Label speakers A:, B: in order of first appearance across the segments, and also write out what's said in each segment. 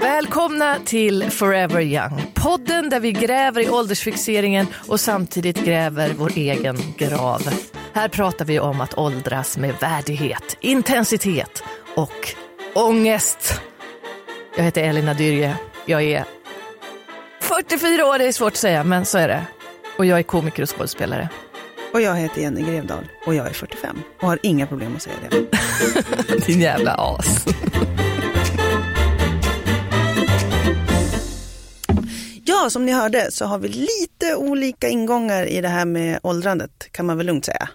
A: Välkomna till Forever Young, podden där vi gräver i åldersfixeringen och samtidigt gräver vår egen grav. Här pratar vi om att åldras med värdighet, intensitet och ångest. Jag heter Elina Dyrje. Jag är 44 år, det är svårt att säga, men så är det. Och jag är komiker och skådespelare.
B: Och jag heter Jenny Grevdal och jag är 45 och har inga problem att säga det.
A: Din jävla as.
B: Ja, som ni hörde så har vi lite olika ingångar i det här med åldrandet kan man väl lugnt säga.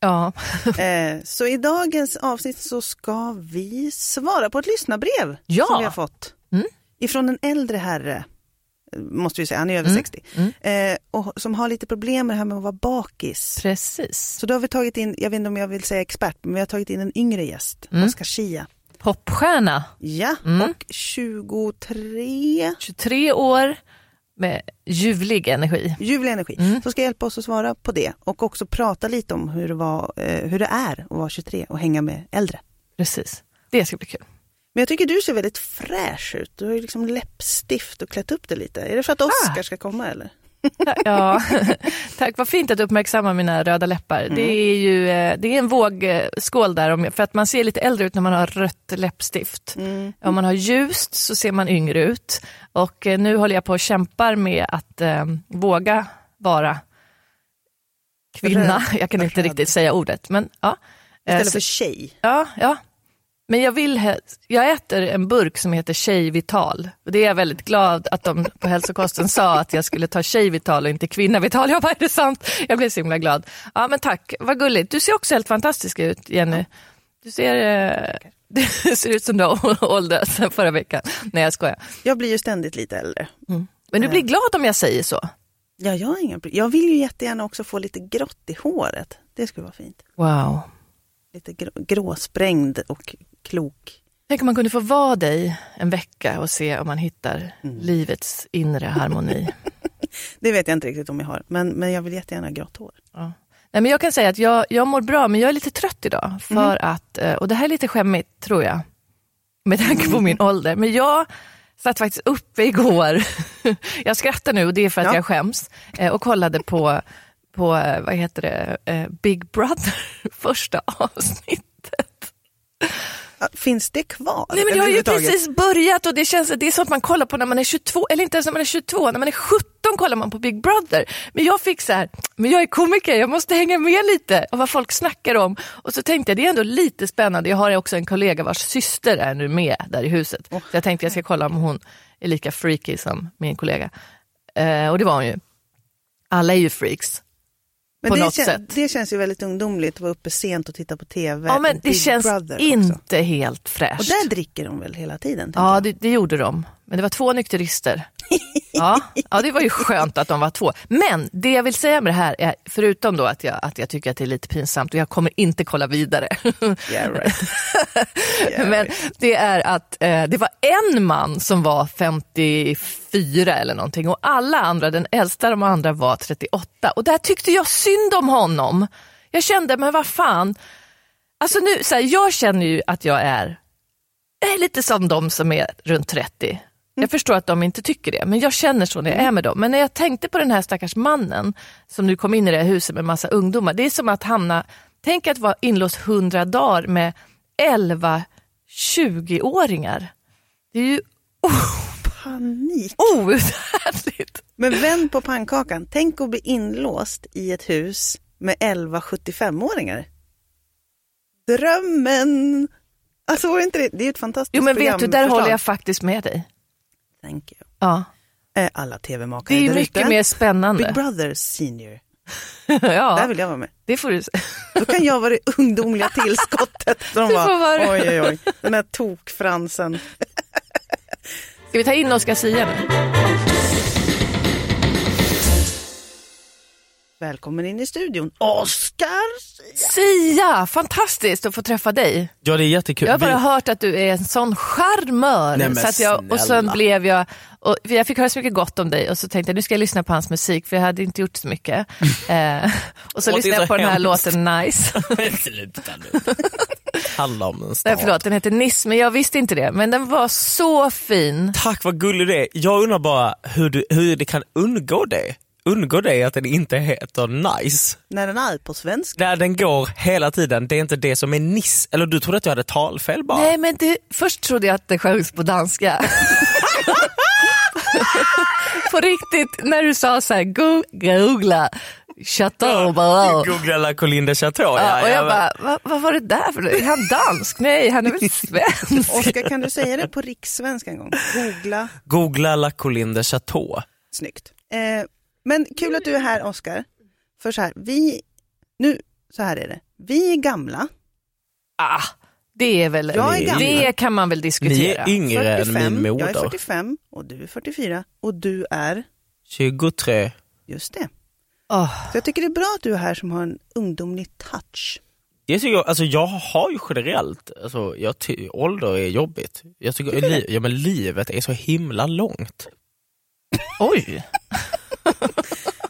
A: Ja,
B: Eh, så i dagens avsnitt så ska vi svara på ett lyssnarbrev
A: Ja.
B: som vi har fått. Ifrån en äldre herre, eh, måste vi säga, han är över 60, Eh, och som har lite problem med det här med att vara bakis.
A: precis.
B: Så då har vi tagit in, jag vet inte om jag vill säga expert, men vi har tagit in en yngre gäst, Oskar Schia.
A: Popstjärna,
B: Ja, och 23
A: 23 år med ljuvlig energi.
B: ljuvlig energi,
A: Mm.
B: som ska hjälpa oss att svara på det och också prata lite om hur det, var, eh, hur det är att vara 23 och hänga med äldre.
A: Precis. Det ska bli kul.
B: Men jag tycker du ser väldigt fräsch ut. Du har ju liksom läppstift och klätt upp det lite. Är det för att
A: Ah.
B: Oscar ska komma eller?
A: Ja, tack. Vad fint att du uppmärksammar mina röda läppar. Det är ju eh, det är en vågskål där, om- för att man ser lite äldre ut när man har rött läppstift.
B: Mm.
A: Om man har ljust så ser man yngre ut. Och eh, nu håller jag på och kämpar med att eh, våga vara kvinna. Jag kan inte
B: Röd.
A: riktigt säga ordet, men ja. Eh,
B: Istället
A: så-
B: för tjej.
A: Ja, ja. Men jag, vill he- jag äter en burk som heter Tjejvital. Och det är jag väldigt glad att de på hälsokosten sa att jag skulle ta Tjejvital och inte Kvinnavital. Jag bara, är det sant? Jag blev så himla glad. Ja, men tack, vad gulligt. Du ser också helt fantastisk ut, Jenny. Du ser, eh, du ser ut som du har åldrats sen förra veckan. Nej, jag skojar.
B: Jag blir ju ständigt lite äldre.
A: Men du blir glad om jag säger så.
B: Ja, jag, har inga, pro- jag vill ju jättegärna också få lite grått i håret. Det skulle vara fint.
A: Wow.
B: Lite grå, gråsprängd och klok.
A: Tänk om man kunde få vara dig en vecka och se om man hittar livets inre harmoni.
B: Det vet jag inte riktigt om jag har, men, men jag vill jättegärna ha grått hår.
A: Ja. Nej, men jag kan säga att jag, jag mår bra, men jag är lite trött idag. För att, eh, och det här är lite skämmigt, tror jag, med tanke på min ålder. Men jag satt faktiskt uppe igår, jag skrattar nu och det är för att
B: Ja.
A: jag skäms, eh, och kollade på, på eh, vad heter det, eh, Big Brother, första avsnittet.
B: Ja, Finns det kvar?
A: Nej, men jag har ju
B: överhuvudtaget?
A: precis börjat och det känns det är sånt man kollar på när man är 22, eller inte ens när man är 22, när man är 17 kollar man på Big Brother. Men jag fick så här, men jag är komiker, jag måste hänga med lite av vad folk snackar om. Och så tänkte jag, det är ändå lite spännande, jag har också en kollega vars syster är nu med där i huset. Så jag tänkte jag ska kolla om hon är lika freaky som min kollega. Eh, och det var hon ju. Alla är ju freaks.
B: Men
A: på
B: det,
A: något
B: kän-
A: sätt.
B: det känns ju väldigt ungdomligt att vara uppe sent och titta på TV.
A: Ja, men det
B: Big
A: känns
B: Brother
A: inte
B: också.
A: helt fräscht.
B: Och där dricker de väl hela tiden? tänker
A: Ja,
B: jag.
A: det, det gjorde de. Men det var två nykterister. Ja, ja, det var ju skönt att de var två. Men det jag vill säga med det här, är, förutom då att jag, att jag tycker att det är lite pinsamt och jag kommer inte kolla vidare.
B: Yeah, right.
A: Men det är att eh, det var en man som var 54 eller någonting och alla andra, den äldsta de andra var 38. Och där tyckte jag synd om honom. Jag kände, men vad fan. Alltså nu, så här, jag känner ju att jag är, jag är lite som de som är runt 30. Jag förstår att de inte tycker det, men jag känner så när jag är med dem. Men när jag tänkte på den här stackars mannen som nu kom in i det här huset med massa ungdomar. Det är som att hamna, tänk att vara inlåst 100 dagar med 11-20-åringar. Det är ju
B: Panik.
A: outhärdligt.
B: Men vänd på pannkakan. Tänk att bli inlåst i ett hus med 11 75-åringar. Drömmen! Alltså vore inte det, det är ju ett fantastiskt
A: Jo men vet du, där
B: programförslag.
A: håller jag faktiskt med dig.
B: Thank you.
A: Ja.
B: Eh, Alla
A: Det
B: tv-makare
A: är ju
B: där
A: mycket
B: ute.
A: mer
B: Big
A: spännande.
B: Brother Senior. Där
A: Ja,
B: vill jag vara med.
A: det får du se.
B: Då kan jag vara det ungdomliga tillskottet. De
A: Du får
B: bara,
A: vara-
B: oj, oj, oj, den här tokfransen.
A: Ska vi ta in Oscar Zia nu?
B: välkommen in i studion, Oskar!
A: Sia, fantastiskt att få träffa dig.
C: Ja, det är jättekul.
A: Jag har bara
C: Vi-
A: hört att du är en sån charmör.
C: Nej, men
A: så att jag, och sen
C: snälla.
A: blev jag, och för jag fick höra så mycket gott om dig och så tänkte jag nu ska jag lyssna på hans musik för jag hade inte gjort så mycket. eh, och så
C: Låter
A: lyssnade jag
C: så
A: på den här
C: hemskt.
A: låten Nice.
C: Sluta nu. Handla om en
A: Nej,
C: stad.
A: förlåt, den heter Niss men jag visste inte det. Men den var så fin.
C: Tack vad gullig du är. Jag undrar bara hur, du, hur det kan undgå dig. Undgå dig att den inte heter nice.
B: När den är på svenska.
C: Där den går hela tiden, det är inte det som är niss. Eller du trodde att jag hade talfel bara?
A: Nej men det, först trodde jag att det sjöngs på danska. på riktigt, när du sa så här, go, googla, chateau, bara.
C: Googla La Colinda Chateau.
A: Ja, och jag
C: men-
A: bara, Va, vad var det där för Är han dansk? Nej, han är väl svensk?
B: Oskar, kan du säga det på rikssvenska en gång? Googla,
C: Googla La Colinda Chateau.
B: snyggt. Eh, men kul att du är här Oskar. För så här, vi, nu, så här är det. Vi är gamla,
A: Ah, det är väl,
B: Jag är gammal.
A: det kan man väl
C: Ni
A: diskutera.
C: är yngre än
B: 45,
C: min
B: jag är
C: moder.
B: 45 och du är 44 och du är,
C: 23.
B: just det.
A: Åh,
B: Så jag tycker det är bra att du är här som har en ungdomlig touch.
C: Jag, tycker, jag- alltså, jag har ju generellt, alltså, jag ty- ålder är jobbigt. Jag tycker, li- ja, men livet är så himla långt.
A: oj,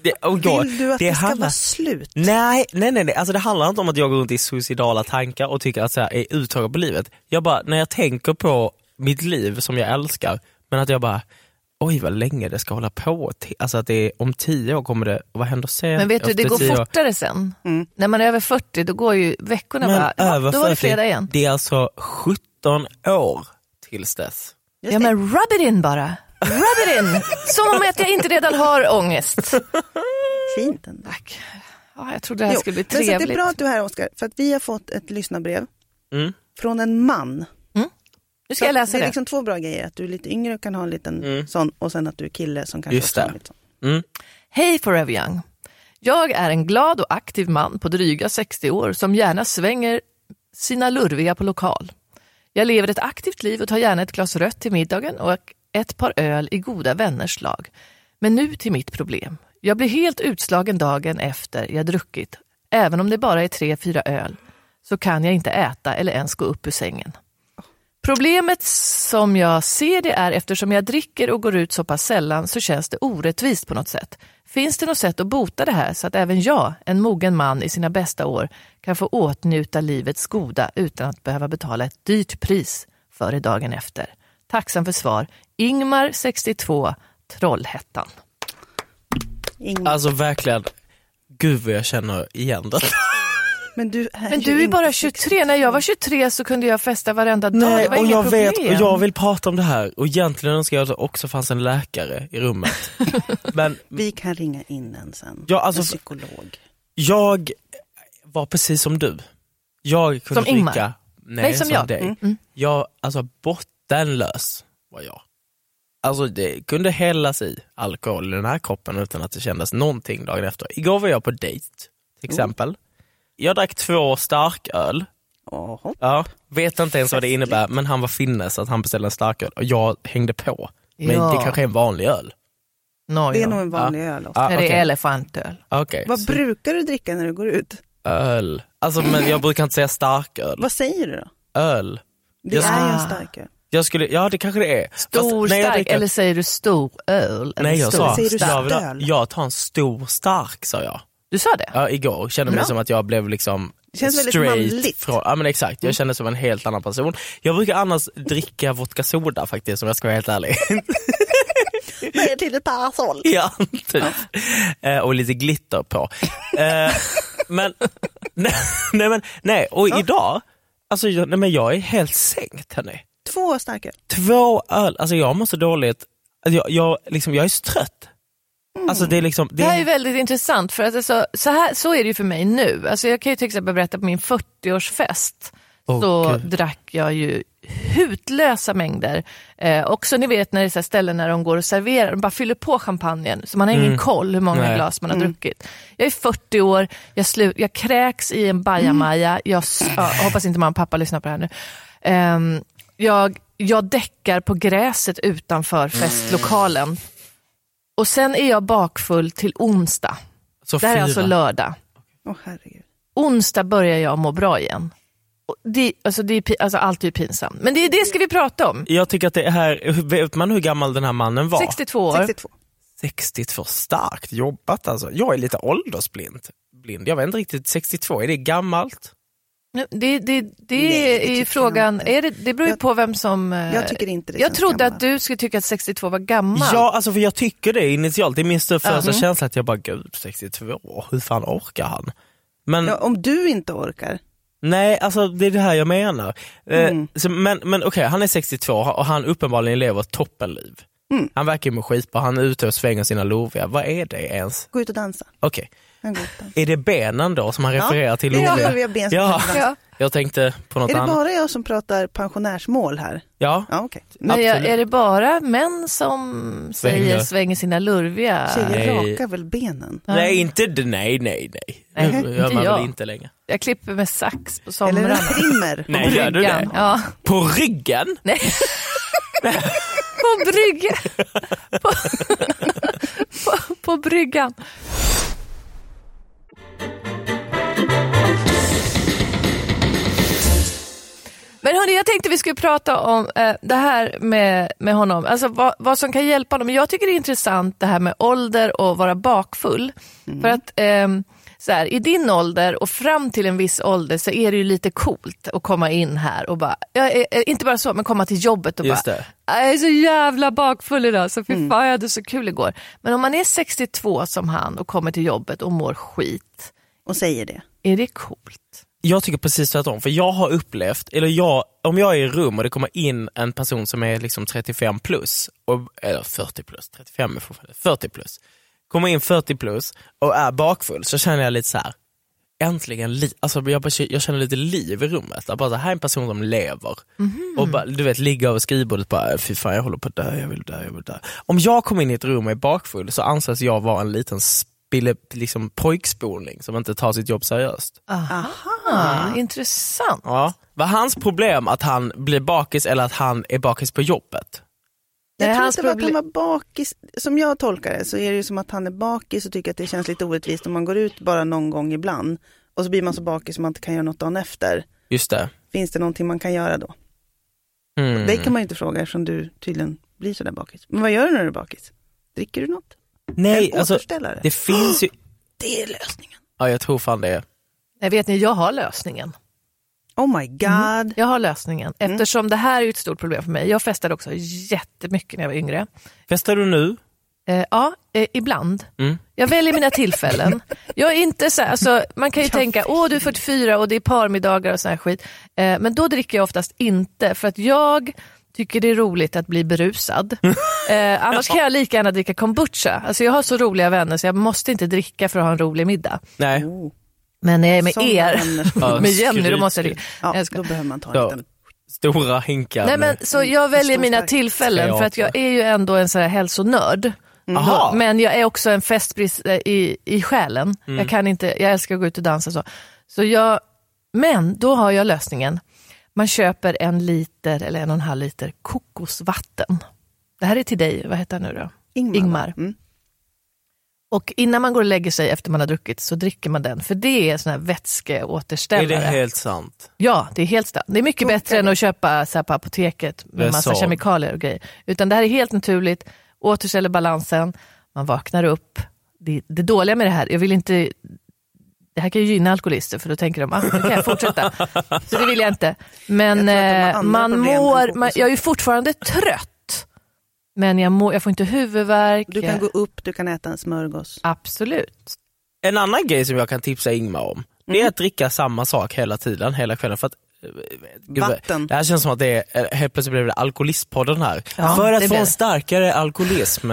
C: Det, och jag,
B: Vill du att det, ska
C: handlar-
B: vara slut?
C: Nej, nej, nej, nej. Alltså, det handlar inte om att jag går runt i suicidala tankar och tycker att så här, är uttagad på livet. Jag bara, när jag tänker på mitt liv som jag älskar, men att jag bara, oj vad länge det ska hålla på. till. Alltså att det är, om tio år kommer det, vad händer sen?
A: men vet du det
C: Efter
A: går
C: tio år-
A: fortare sen.
B: Mm.
A: När man är över 40 då går ju veckorna
C: Men
A: bara, ja,
C: över
A: då var det
C: 40,
A: fredag igen.
C: Det är alltså 17 år tills dess.
A: Ja men rub it in bara. Rub it in! Som om att jag inte redan har ångest.
B: Fint ändå.
A: Tack. Ja, jag trodde det här
B: Jo,
A: skulle bli
B: men så att
A: trevligt.
B: det är bra att du är här Oskar, för att vi har fått ett lyssnarbrev
C: Mm.
B: från en man.
A: Nu ska jag läsa
B: det är
A: det.
B: liksom två bra grejer, att du är lite yngre och kan ha en liten
C: Mm.
B: sån och sen att du är kille som kanske
C: Just
B: också har
C: det.
B: en liten sån.
C: Mm.
A: Hej Forever Young! Jag är en glad och aktiv man på dryga 60 år som gärna svänger sina lurviga på lokal. Jag lever ett aktivt liv och tar gärna ett glas rött till middagen och ett par öl i goda vänners lag. Men nu till mitt problem. Jag blir helt utslagen dagen efter jag druckit. Även om det bara är tre, fyra öl så kan jag inte äta eller ens gå upp ur sängen. Problemet som jag ser det är eftersom jag dricker och går ut så pass sällan så känns det orättvist på något sätt. Finns det något sätt att bota det här så att även jag, en mogen man i sina bästa år, kan få åtnjuta livets goda utan att behöva betala ett dyrt pris före dagen efter? Tacksam för svar. Ingmar, 62, Trollhättan.
B: Ingen.
C: Alltså verkligen, gud vad jag känner igen det.
B: Men du är,
A: Men
B: ju
A: du är
B: inte
A: bara
B: 60.
A: 23. När jag var 23 så kunde jag festa varenda dag. det
C: Nej,
A: var
C: och
A: inga
C: jag
A: problem.
C: vet, och jag vill prata om det här och egentligen önskar jag att det också fanns en läkare i rummet. Men
B: Vi kan ringa in en sen,
C: Ja, alltså-
B: en psykolog.
C: jag var precis som du. Jag kunde
A: Som Ingmar?
C: dricka, nej,
A: Nej, som jag.
C: dig.
B: Mm.
C: Jag, alltså bottenlös var jag. Alltså det kunde hällas i alkohol i den här koppen utan att det kändes någonting dagen efter. Igår var jag på dejt
A: Mm.
C: till exempel. Jag drack två starköl
B: Jaha.
C: Ja, vet inte ens vad det innebär, men han var finne så att han beställde en starköl och jag hängde på. Men
A: Ja.
C: det kanske är en vanlig öl?
A: Nå,
B: Det är
A: ja.
B: nog en vanlig öl. också.
C: Ja,
A: Nej,
C: okej.
A: det är elefantöl.
C: Okej,
B: Vad
C: så
B: brukar du dricka när du går ut?
C: öl. Alltså men jag brukar inte säga starköl.
B: Vad säger du då?
C: Öl.
B: Det
C: Jag-
B: är ju en
A: Ah.
B: stark öl.
C: Jag skulle, ja det kanske det är. Fast
A: Stor
C: när jag
A: stark,
C: dricker-
A: eller säger du stor öl? Eller
C: Nej jag
A: stor
C: sa,
B: Säger du
C: jag, vill ha,
B: starköl?
C: jag tar en stor stark sa jag.
A: Du sa det?
C: Ja, igår. Kände mig
B: Bra.
C: som att jag blev liksom
B: Det känns väldigt manligt. Mm.
C: straight från, ja men exakt, jag kände som en helt annan person. Jag brukar annars dricka vodka soda faktiskt om jag ska vara helt ärlig.
B: Med ett litet parasoll.
C: Ja, typ. Eh, och lite glitter på. Eh, men, nej, nej, men, nej, och idag, alltså, jag, nej, men jag är helt sänkt hörni.
B: Två starka.
C: Två öl, alltså jag mår så dåligt, alltså, jag, jag, liksom, jag är så trött. Alltså det är liksom, det
A: Mm. Det här är
C: är,
A: väldigt intressant, för att alltså, så, här, så är det ju för mig nu. Alltså, jag kan ju till exempel berätta på min 40-årsfest,
C: Åh,
A: så
C: Gud.
A: drack jag ju hutlösa mängder. Eh, också ni vet när det är så här ställen när de går och serverar, de bara fyller på champagnen, så man har ingen koll hur många
C: Nej.
A: glas man har druckit. Jag är 40 år, jag, slut, jag kräks i en bajamaja, jag, s- ja, jag hoppas inte mamma och pappa lyssnar på det här nu. Ehm, jag, jag däckar på gräset utanför festlokalen. Och sen är jag bakfull till onsdag.
C: Så
A: Det här är
C: fyra.
A: alltså lördag.
B: Åh herregud.
A: Onsdag börjar jag må bra igen. Och Det, alltså det är, pi- alltså allt är ju pinsamt, men det, det ska vi prata om.
C: jag tycker att det här, vet man hur gammal den här mannen var?
A: 62 år.
B: 62.
C: 62, starkt jobbat alltså. Jag är lite åldersblind. Blind. Jag vet inte riktigt, 62, är det gammalt?
A: Nu, Det, det, det,
B: Nej, det
A: är ju
B: tycker
A: frågan,
B: jag inte.
A: är det, det beror ju
B: Jag-
A: på vem som... eh,
B: Jag tycker inte det
A: jag
B: känns
A: trodde att
B: gammalt.
A: du skulle tycka att 62 var gammal.
C: Ja, alltså för jag tycker det initialt. Det är min stör- första
A: Mhm.
C: känsla att jag bara, gud 62, hur fan orkar han? Men
B: Ja, om du inte orkar.
C: nej, alltså det är det här jag menar. Eh,
B: Mm.
C: så, men men okej, han är 62 och han uppenbarligen lever ett toppenliv.
B: Mm.
C: Han verkar ju må skitbra, han är ute och svänger sina loviga. Vad är det ens?
B: Gå ut och dansa.
C: Okej,
B: En god dans.
C: är det benen då som han refererar till?
B: Ja,
C: loviga?
B: vi har ben som
C: Ja.
B: kan dansa.
A: Ja.
C: Jag tänkte på något
B: Är det
C: annat.
B: bara jag som pratar pensionärsmål här?
C: Ja,
B: Ja, okej.
A: Men jag,
C: Absolut.
A: är det bara män som säger
C: Svänger.
A: svänger sina lurviga...
B: Tjejer
C: Nej.
B: rakar väl benen?
C: Nej, inte det. Nej, nej, nej.
A: Nej,
C: Det
A: inte
C: gör man
A: jag.
C: väl inte längre.
A: Jag klipper med sax på
B: Eller
A: somrarna.
B: en trimmer?
C: Nej, gör du det?
A: Bryggan, Ja.
C: På ryggen?
A: Nej. på bryggan. På, på, på bryggan. Men hörni, jag tänkte vi skulle prata om eh, det här med, med honom, alltså vad, vad som kan hjälpa honom. Jag tycker det är intressant det här med ålder och vara bakfull.
C: Mm.
A: För att ehm, så här, i din ålder och fram till en viss ålder så är det ju lite coolt att komma in här och bara, ja, eh, eh, inte bara så, men komma till jobbet och
C: Just
A: bara,
C: det.
A: jag är så jävla bakfull idag, så fy
B: Mm.
A: fan jag hade så kul igår. Men om man är 62 som han och kommer till jobbet och mår skit,
B: Och säger det.
A: är det coolt?
C: Jag tycker precis tvärtom, för jag har upplevt, eller jag, om jag är i rum och det kommer in en person som är liksom 35 plus, och, eller 40 plus, 35 är fortfarande 40 plus, kommer in 40 plus och är bakfull så känner jag lite så här. äntligen, li- alltså jag, bara, jag känner lite liv i rummet. Jag bara, det här är en person som lever. Och bara, du vet, ligga över skrivbordet bara, fy fan jag håller på att dö, jag vill dö, jag vill dö. Om jag kommer in i ett rum och är bakfull så anses jag vara en liten spille, liksom pojkspolning som inte tar sitt jobb seriöst.
A: Aha, intressant.
C: Ja. Var hans problem att han blir bakis eller att han är bakis på jobbet?
B: Jag
A: Det är
B: tror
A: hans
B: inte att han
A: problem.
B: var bakis. Som jag tolkar det så är det ju som att han är bakis och tycker att det känns lite orättvist om man går ut bara någon gång ibland. Och så blir man så bakis som man inte kan göra något dagen efter.
C: Just det.
B: Finns det någonting man kan göra då?
C: Mm.
B: Det kan man ju inte fråga eftersom du tydligen blir sådär bakis. Men vad gör du när du är bakis? Dricker du något?
C: Nej,
B: en
C: alltså,
B: återställare?
C: det finns ju...
B: Det är lösningen.
C: Ja, jag tror fan det.
A: Jag vet ni, jag har lösningen.
B: Oh my god.
A: Jag har lösningen,
B: Mm.
A: eftersom det här är ju ett stort problem för mig. Jag festade också jättemycket när jag var yngre.
C: Festar du nu?
A: Eh, ja, eh, ibland.
C: Mm.
A: Jag väljer mina tillfällen. Jag är inte så här, alltså, man kan ju tänka, åh du är 44 och det är parmiddagar och sån här skit. Eh, men då dricker jag oftast inte, för att jag tycker det är roligt att bli berusad. Eh, annars kan jag lika gärna dricka kombucha. Alltså, jag har så roliga vänner så jag måste inte dricka för att ha en rolig middag.
C: Nej.
B: Oh,
A: Men när jag är med
B: sådana
A: er,
B: vänner som-
C: Ja,
A: med Jenny, då
C: skryt.
A: måste jag dricka. Nej,
B: Ja,
A: jag skojar.
B: då behöver man ta en
C: Ja.
B: liten...
C: Stora hinkar.
A: Nej, men,
C: med-
A: så jag väljer
B: stor
A: mina
B: stark.
A: tillfällen för att jag är ju ändå en så här hälsonörd.
C: Mm. Aha.
A: Men jag är också en festbris eh, i, i själen.
C: Mm.
A: Jag, kan inte, jag älskar att gå ut och dansa. Så. Så jag, men då har jag lösningen. Man köper en liter eller en och en halv liter kokosvatten. Det här är till dig, vad heter han nu då?
B: Ingmar.
A: Ingmar.
B: Mm.
A: Och innan man går och lägger sig efter man har druckit så dricker man den, för det är sån här vätskeåterställare.
C: Är det helt sant?
A: Ja, det är helt sant. Det är mycket
B: Funkar
A: bättre än
B: det?
A: att köpa så här, på apoteket med massa
C: Resorb.
A: kemikalier och grejer. Utan det här är helt naturligt, återställer balansen, man vaknar upp. Det, det dåliga med det här, jag vill inte... Det här kan ju gynna alkoholister för då tänker de, ah, nu kan jag fortsätta. Så det vill jag inte. Men
B: Jag tror att de har
A: eh,
B: andra
A: man
B: problem än
A: mår,
B: kokos.
A: man, jag är ju fortfarande trött. Men jag, mår, jag får inte huvudvärk.
B: Du kan gå upp, du kan äta en smörgås.
A: Absolut.
C: En annan grej som jag kan tipsa Ingmar om, det är att dricka samma sak hela tiden, hela kvällen. För att, eh, gud,
B: Vatten.
C: Det här känns som att det är, eh, helt plötsligt blev det alkoholistpodden här. för
A: det
C: att få
A: blev
C: en
A: det.
C: starkare alkoholism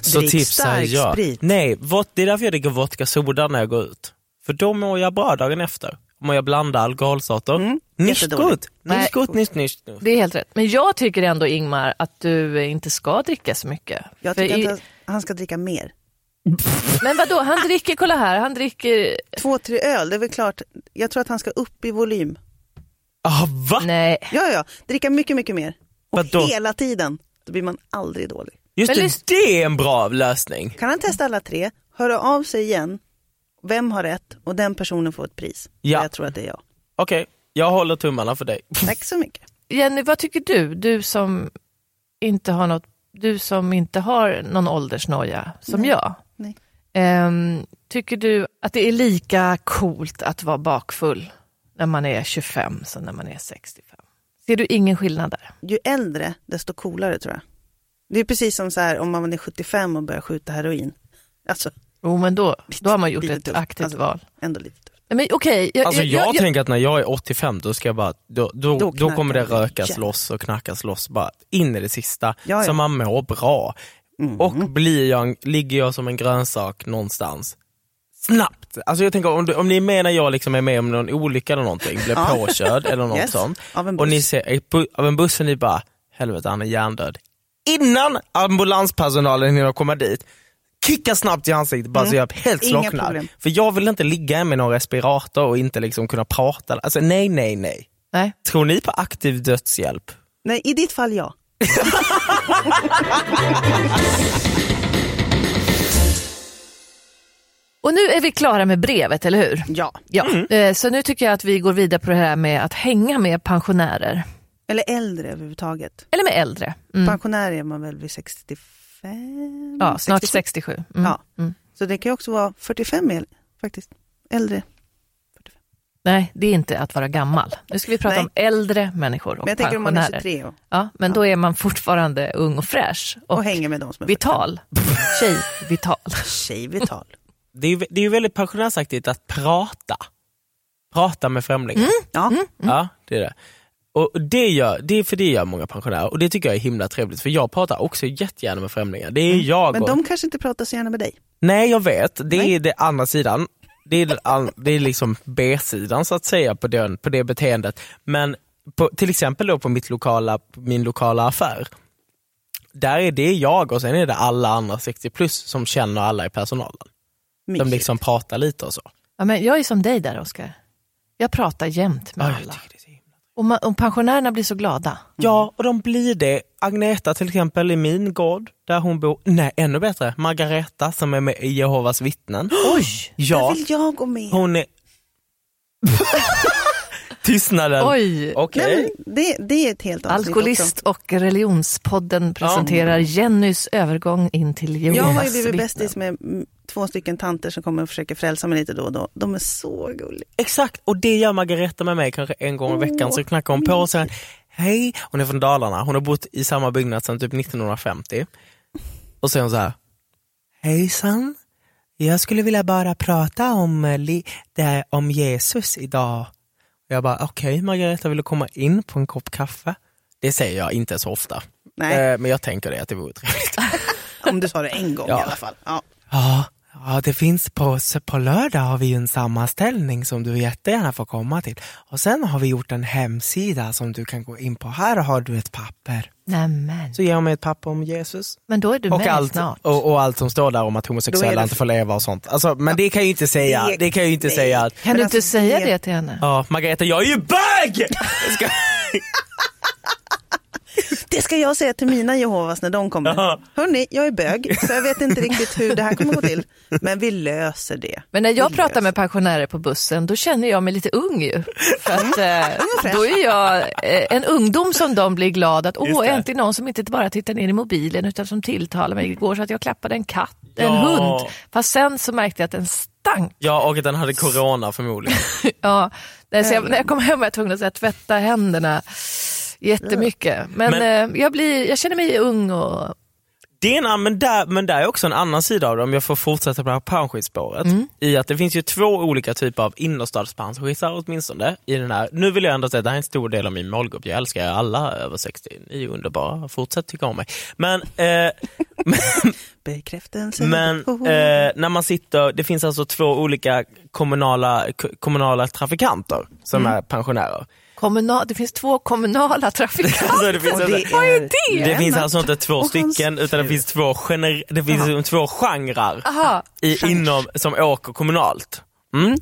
C: så
B: Drick
C: tipsar
B: stark
C: jag.
B: sprit.
C: Nej, vod, det är därför jag dricker vodka soda när jag går ut. För då mår jag bra dagen efter. Om jag blandar alkoholsorter. Mm. Nyss
B: jättedåligt.
C: gott,
A: Nej.
C: nyss gott, nyss, nyss.
A: Det är helt rätt. Men jag tycker ändå Ingmar att du inte ska dricka så mycket.
B: Jag
A: För
B: tycker
A: i-
B: att han- han ska dricka mer.
A: Men vadå, han dricker, kolla här, han dricker...
B: Två, tre öl, det är väl klart. Jag tror att han ska upp i volym.
C: Ah, va?
A: Nej.
B: Ja, ja, dricka mycket, mycket mer. Och
C: Vadå?
B: hela tiden. Då blir man aldrig dålig.
C: Just
A: Men
C: det,
A: lys-
C: det är en bra lösning.
B: Kan han testa alla tre höra av sig igen, vem har rätt och den personen får ett pris.
C: Ja.
B: Jag tror att det är jag.
C: Okej, jag håller tummarna för dig.
B: Tack så mycket.
A: Jenny, vad tycker du? Du som inte har, något, du som inte har någon åldersnoja som
B: Nej.
A: jag.
B: Nej.
A: Ehm, tycker du att det är lika coolt att vara bakfull när man är 25 som när man är 65? Ser du ingen skillnad där?
B: Ju äldre, desto coolare tror jag. Det är precis som så här om man är 75 och börjar skjuta heroin. Alltså,
A: Jo, men då, då har man gjort
B: lite
A: ett
B: tufft.
A: aktivt
B: Alltså,
A: val.
B: ändå lite tufft.
A: Nej, men okej, jag,
C: Alltså jag,
A: jag, jag,
C: tänker att när jag är 85 då ska jag bara, då, då,
B: Då
C: då,
B: knackar
C: kommer det
B: det.
C: rökas
B: Ja.
C: loss och knackas loss bara in i det sista.
B: Ja,
C: Så
B: ja.
C: man mår bra.
B: Mm.
C: Och blir jag, en- ligger jag som en grönsak någonstans, snabbt. Alltså jag tänker om, du- om ni är med när jag liksom är med om någon olycka eller någonting, blir
B: Ja.
C: påkörd eller något
B: Yes.
C: sånt.
B: Av en
C: Och ni
B: buss.
C: ser ett bu- av en buss och ni bara, helvete han är hjärndöd. Innan ambulanspersonalen hinner komma dit, kicka snabbt i ansiktet bara så jag helt
B: Mm. Inga
C: slocknar.
B: problem.
C: För jag vill inte ligga med någon respirator och inte liksom kunna prata. Alltså nej, nej, nej.
A: nej.
C: Tror ni på aktiv dödshjälp?
B: Nej, i ditt fall ja.
A: Och nu är vi klara med brevet, eller hur?
B: Ja.
A: Ja. Eh, Så nu tycker jag att vi går vidare på det här med att hänga med pensionärer.
B: Eller äldre överhuvudtaget.
A: Eller med äldre. Mm.
B: Pensionär är man väl vid 65?
A: Ja, snart
B: 67.
A: 67. Mm.
B: Ja.
A: Mm.
B: Så det kan ju också vara 45 el, faktiskt. Äldre.
A: Nej, det är inte att vara gammal. Nu ska vi prata
B: Nej.
A: om äldre människor och
B: Men jag tänker om man är
A: pensionärer.
B: 23 och,
A: Ja, men då är man fortfarande ung och fräsch. Och,
B: och hänger med de som är
A: vital. Tjej, vital.
B: 45. Tjej vital.
C: Det är ju det är ju väldigt pensionärsaktigt att prata. Prata med främlingar.
B: Ja.
A: Mm.
C: Ja, det är det. Och det, gör, det är för det gör många pensionärer och det tycker jag är himla trevligt för jag pratar också jättegärna med främlingar. Det är jag
B: Mm. Men
C: och...
B: de kanske inte pratar så gärna med dig.
C: Nej jag vet, det
B: Nej.
C: är det andra sidan. Det är, den an... det är liksom B-sidan så att säga på, den, på det beteendet. Men på, till exempel då på mitt lokala, min lokala affär, där är det jag och sen är det alla andra 60 plus som känner alla i personalen. De
B: Mysigt.
C: liksom pratar lite och så.
A: Ja, men jag är som dig där, Oskar. Jag pratar jämt med
C: Ja, jag
A: alla.
C: tycker det är så himla-
A: Och, man, och pensionärerna blir så glada.
C: Ja, och de blir det. Agneta till exempel i min gård där hon bor. Nej, ännu bättre. Margareta som är med i Jehovas vittnen.
A: Oj!
B: Där
C: Ja,
B: vill jag gå med.
C: hon är... Tystnaden.
A: Oj!
C: Okej.
B: Nej, men det, det är ett helt avsnitt
A: Alkoholist och religionspodden presenterar Jennys övergång in till
B: också. Jag
A: Jehovas
B: har ju blivit
A: alltså, vittnen.
B: bästis med mm, två stycken tanter som kommer och försöker frälsa mig lite då och då. De är så gulliga.
C: Exakt, och det gör Margareta med mig kanske en gång i veckan. Så knackar hon på och säger hej. Hon är från Dalarna, hon har bott i samma byggnad sedan typ 1950. Och så är hon så här, hejsan. Jag skulle vilja bara prata om, eh, li- det här, om Jesus idag. Jag bara, okej Margareta, vill du komma in på en kopp kaffe? Det säger jag inte så ofta,
B: Nej,
C: Eh, men jag tänker det att det vore trevligt.
B: om du sa det en gång
C: Ja.
B: i alla fall. Ja.
C: Ja, ja det finns på, på lördag har vi ju en sammanställning som du jättegärna får komma till. Och sen har vi gjort en hemsida som du kan gå in på. Här har du ett papper.
A: Nämen.
C: Så ger hon mig ett papper om Jesus.
A: Men då är du
C: Och
A: med
C: allt,
A: snart.
C: och, och allt som står där om att
B: Då är
C: homosexuella
B: det-
C: inte får leva och sånt. Alltså, men det kan jag ju inte säga.
B: Det-
C: Det kan jag ju inte
B: nej.
C: säga. Att,
A: kan
B: Men
A: du inte
B: alltså,
A: säga
B: det-
A: det till henne?
C: ja, Margareta, jag är ju bög! Jag ska-
B: Det ska jag säga till mina Jehovas när de kommer.
C: Jaha.
B: Hörni, jag är bög, så jag vet inte riktigt hur det här kommer gå till. Men vi löser det.
A: Men när jag
B: Vi
A: pratar
B: löser
A: med pensionärer på bussen, då känner jag mig lite ung ju. För att, eh, då är jag eh, en ungdom som de blir glad att,
C: Just
A: åh,
C: det.
A: äntligen någon som inte bara tittar ner i mobilen utan som tilltalar mig. Igår så att jag klappade en katt, en
C: Ja.
A: hund. Fast sen så märkte jag att den stank.
C: Ja, och att den hade corona förmodligen.
A: Ja. Nej, så jag, när jag kom hem var jag tvungen att så här, tvätta händerna jättemycket. Men,
C: Men-
A: eh, jag, blir, jag känner mig ung och...
C: Det är en, an- men, där, men där är också en annan sida av det, om jag får fortsätta på det här pensionsspåret.
A: Mm.
C: I att det finns ju två olika typer av innerstadspensionärer åtminstone. I den här. Nu vill jag ändå säga att det här är en stor del av min målgrupp. Jag älskar er alla över 60. Ni är underbara. Fortsätt tycka om mig. Men, eh,
B: Bekräftelse.
C: men
B: Oh.
C: eh, när man sitter, det finns alltså två olika kommunala, k- kommunala trafikanter som
A: Mm.
C: är pensionärer.
A: Kommunal, det finns två kommunala trafikanter.
C: Alltså, det finns
B: Och
C: alltså-
A: Vad är det?
C: det finns
B: Lennart
C: alltså inte två
B: och hans
C: stycken utan det
B: fru.
C: finns två, gener- det finns två genrer.
A: Aha.
C: i, inom, som åker kommunalt. Mm.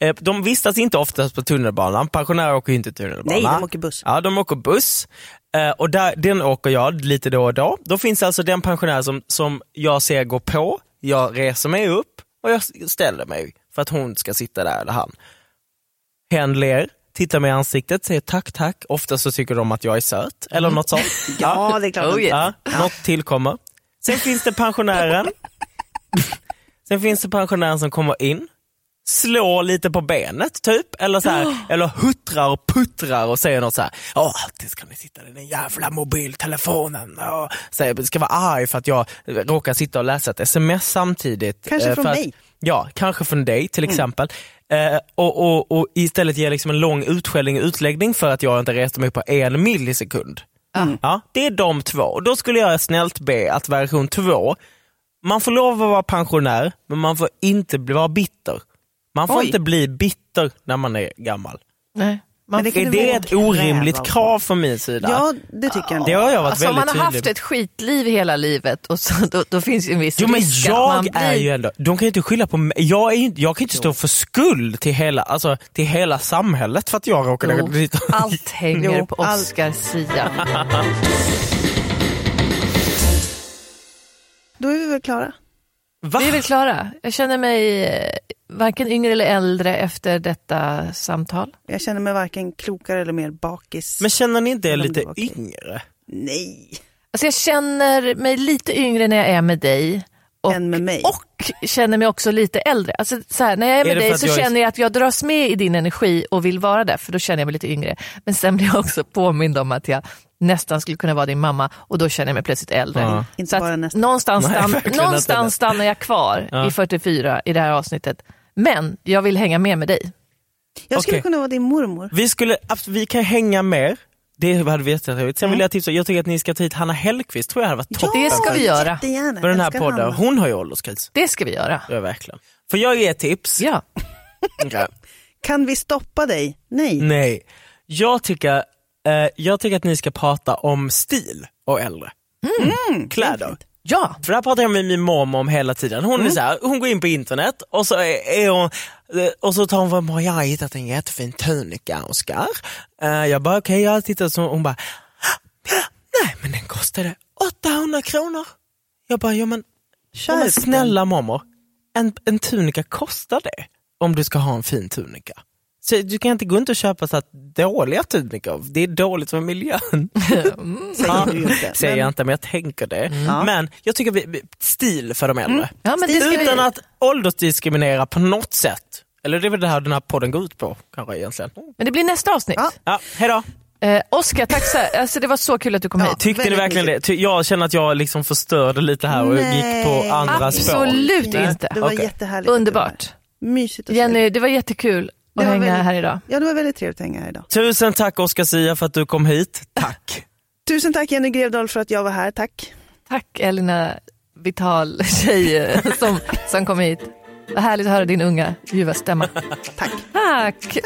C: Eh, De vistas inte oftast på tunnelbanan, pensionärer åker ju inte tunnelbana.
B: Nej, de åker buss.
C: Ja, de åker buss. Eh, Och där, den åker jag lite då och då. Då finns alltså den pensionär som, som jag ser gå på, jag reser mig upp och jag s- ställer mig för att hon ska sitta där, eller han. Hen ler, tittar mig i ansiktet, säger tack, tack. Ofta så tycker de att jag är söt, eller något sånt.
B: Ja, det är klart.
A: Oh, yeah.
C: Ja, något tillkommer. Sen finns det pensionären. Sen finns det pensionären som kommer in, slår lite på benet typ, eller, så här, eller huttrar och puttrar och säger något så här. Ja, alltid ska ni sitta i den jävla mobiltelefonen. Och säger, ska vara arg för att jag råkar sitta och läsa ett sms samtidigt.
B: Kanske
C: Eh,
B: från Mm.
C: för att-
B: mig.
C: Ja, kanske från dig till exempel. Eh, och, och, och istället ger liksom en lång utskällning och utläggning för att jag inte reste mig på en millisekund. Ja, det är de två. Och Då skulle jag snällt be att version två, man får lov att vara pensionär men man får inte bli- vara bitter. Man får
B: Oj.
C: inte bli bitter när man är gammal.
A: Nej. Man,
B: Men det kan du
C: Är det
B: väl
C: ett orimligt
B: kräva?
C: krav från min sida?
B: Ja, det tycker jag.
C: Det
B: inte.
C: har jag varit
A: alltså, om
C: väldigt
A: man har
C: tydlig
A: haft ett skitliv hela livet, och så, då, då finns ju en viss
C: Jo men
A: risk att man
C: jag
A: blir...
C: är ju ändå, de kan ju inte skylla på mig. Jag, är ju, inte- jag kan ju inte stå för skuld till hela, alltså, till hela samhället för att jag råkade
A: Jo,
C: dit.
A: allt hänger
B: Jo,
A: på
B: allt.
A: Oscar Sia.
B: Då är vi väl klara.
C: Va?
A: Vi är väl klara? Jag känner mig eh, varken yngre eller äldre efter detta samtal.
B: Jag känner mig varken klokare eller mer bakis.
C: Men känner ni inte er
B: Men det
C: lite
B: var okej.
C: yngre?
B: Nej,
A: Alltså jag känner mig lite yngre när jag är med dig och,
B: än med mig.
A: och känner mig också lite äldre. Alltså så här, när jag är med
C: det för
A: dig
C: att
A: så
C: jag är-
A: känner jag att jag dras med i din energi och vill vara där, för då känner jag mig lite yngre. Men sen blir jag också påmind om att jag nästan skulle kunna vara din mamma och då känner jag mig plötsligt äldre.
C: Ja.
B: Inte
A: Så
B: bara
A: att
B: nästan.
A: någonstans,
C: Nej,
A: stann-
C: verkligen inte.
A: någonstans stannar jag kvar
C: Ja.
A: i 44 i det här avsnittet. Men jag vill hänga med med dig.
B: Jag skulle
C: Okej.
B: kunna vara din mormor.
C: Vi, skulle, abs- vi kan hänga mer. Det hade vi jättetrevligt. Sen
B: Mm.
C: vill jag tipsa, jag tycker att ni ska ta hit Hanna Hellquist, tror jag hade varit toppen
A: det ska vi göra.
B: Jättegärna.
C: för den här
B: Älskar
C: podden.
B: Hanna.
C: Hon har ju ålderskris.
A: Det ska vi göra.
C: Ja, verkligen. Får jag ge ett tips?
A: Ja.
C: Okej.
B: Kan vi stoppa dig? Nej.
C: Nej. Jag tycker, eh, jag tycker att ni ska prata om stil och äldre. Mm. Kläder.
A: Ja.
C: För det här pratar jag med min mamma om hela tiden. Hon, är så här, hon går in på internet och så, är, är hon, eh, och så tar hon fram, "Åh, jag har hittat en jättefin tunika Oscar. Eh, jag bara, okej, jag tittar så hon bara, nej men den kostade 800 kronor. Jag bara, ja men, ja, men
B: den."
C: snälla mamma, en, en tunika kostar det om du ska ha en fin tunika. Så du kan inte gå runt och köpa så här dåliga tunikor, det är dåligt för miljön.
B: Mm. Säger du ju inte.
C: Säger jag
B: Men Mm.
C: inte, men jag tänker det.
B: Ja.
C: Men jag tycker vi- vi, stil för de äldre.
B: Mm.
A: ja men det ska
C: Utan
A: vi...
C: att åldersdiskriminera på något sätt. Eller det är väl det här den här podden går ut på, kanske egentligen.
B: Mm.
A: Men det blir nästa avsnitt.
B: Ja.
C: Ja, hejdå.
A: Eh, Oskar, tack så alltså, Det var så kul att du kom
B: Ja.
A: hit.
C: Tyckte ni
B: Väldigt
C: verkligen det? Ty- Jag känner att jag liksom förstörde lite här och
B: Nej.
C: gick på andra spår.
A: Absolut inte.
B: Det var
C: Okej.
B: jättehärligt. att du
A: Underbart.
B: var här. Mysigt att se.
A: Jenny, det var jättekul
B: Det
A: att
B: var
A: hänga
B: väldigt-
A: här idag.
B: Ja, det var väldigt trevligt att hänga här idag.
C: Tusen tack Oscar Sia för att du kom hit. Tack.
B: Tusen tack Jenny Grevdahl för att jag var här. Tack.
A: Tack Elina Vital, tjej eh, som, som kom hit. Vad härligt att höra din unga ljuva stämma.
B: Tack.
A: Tack!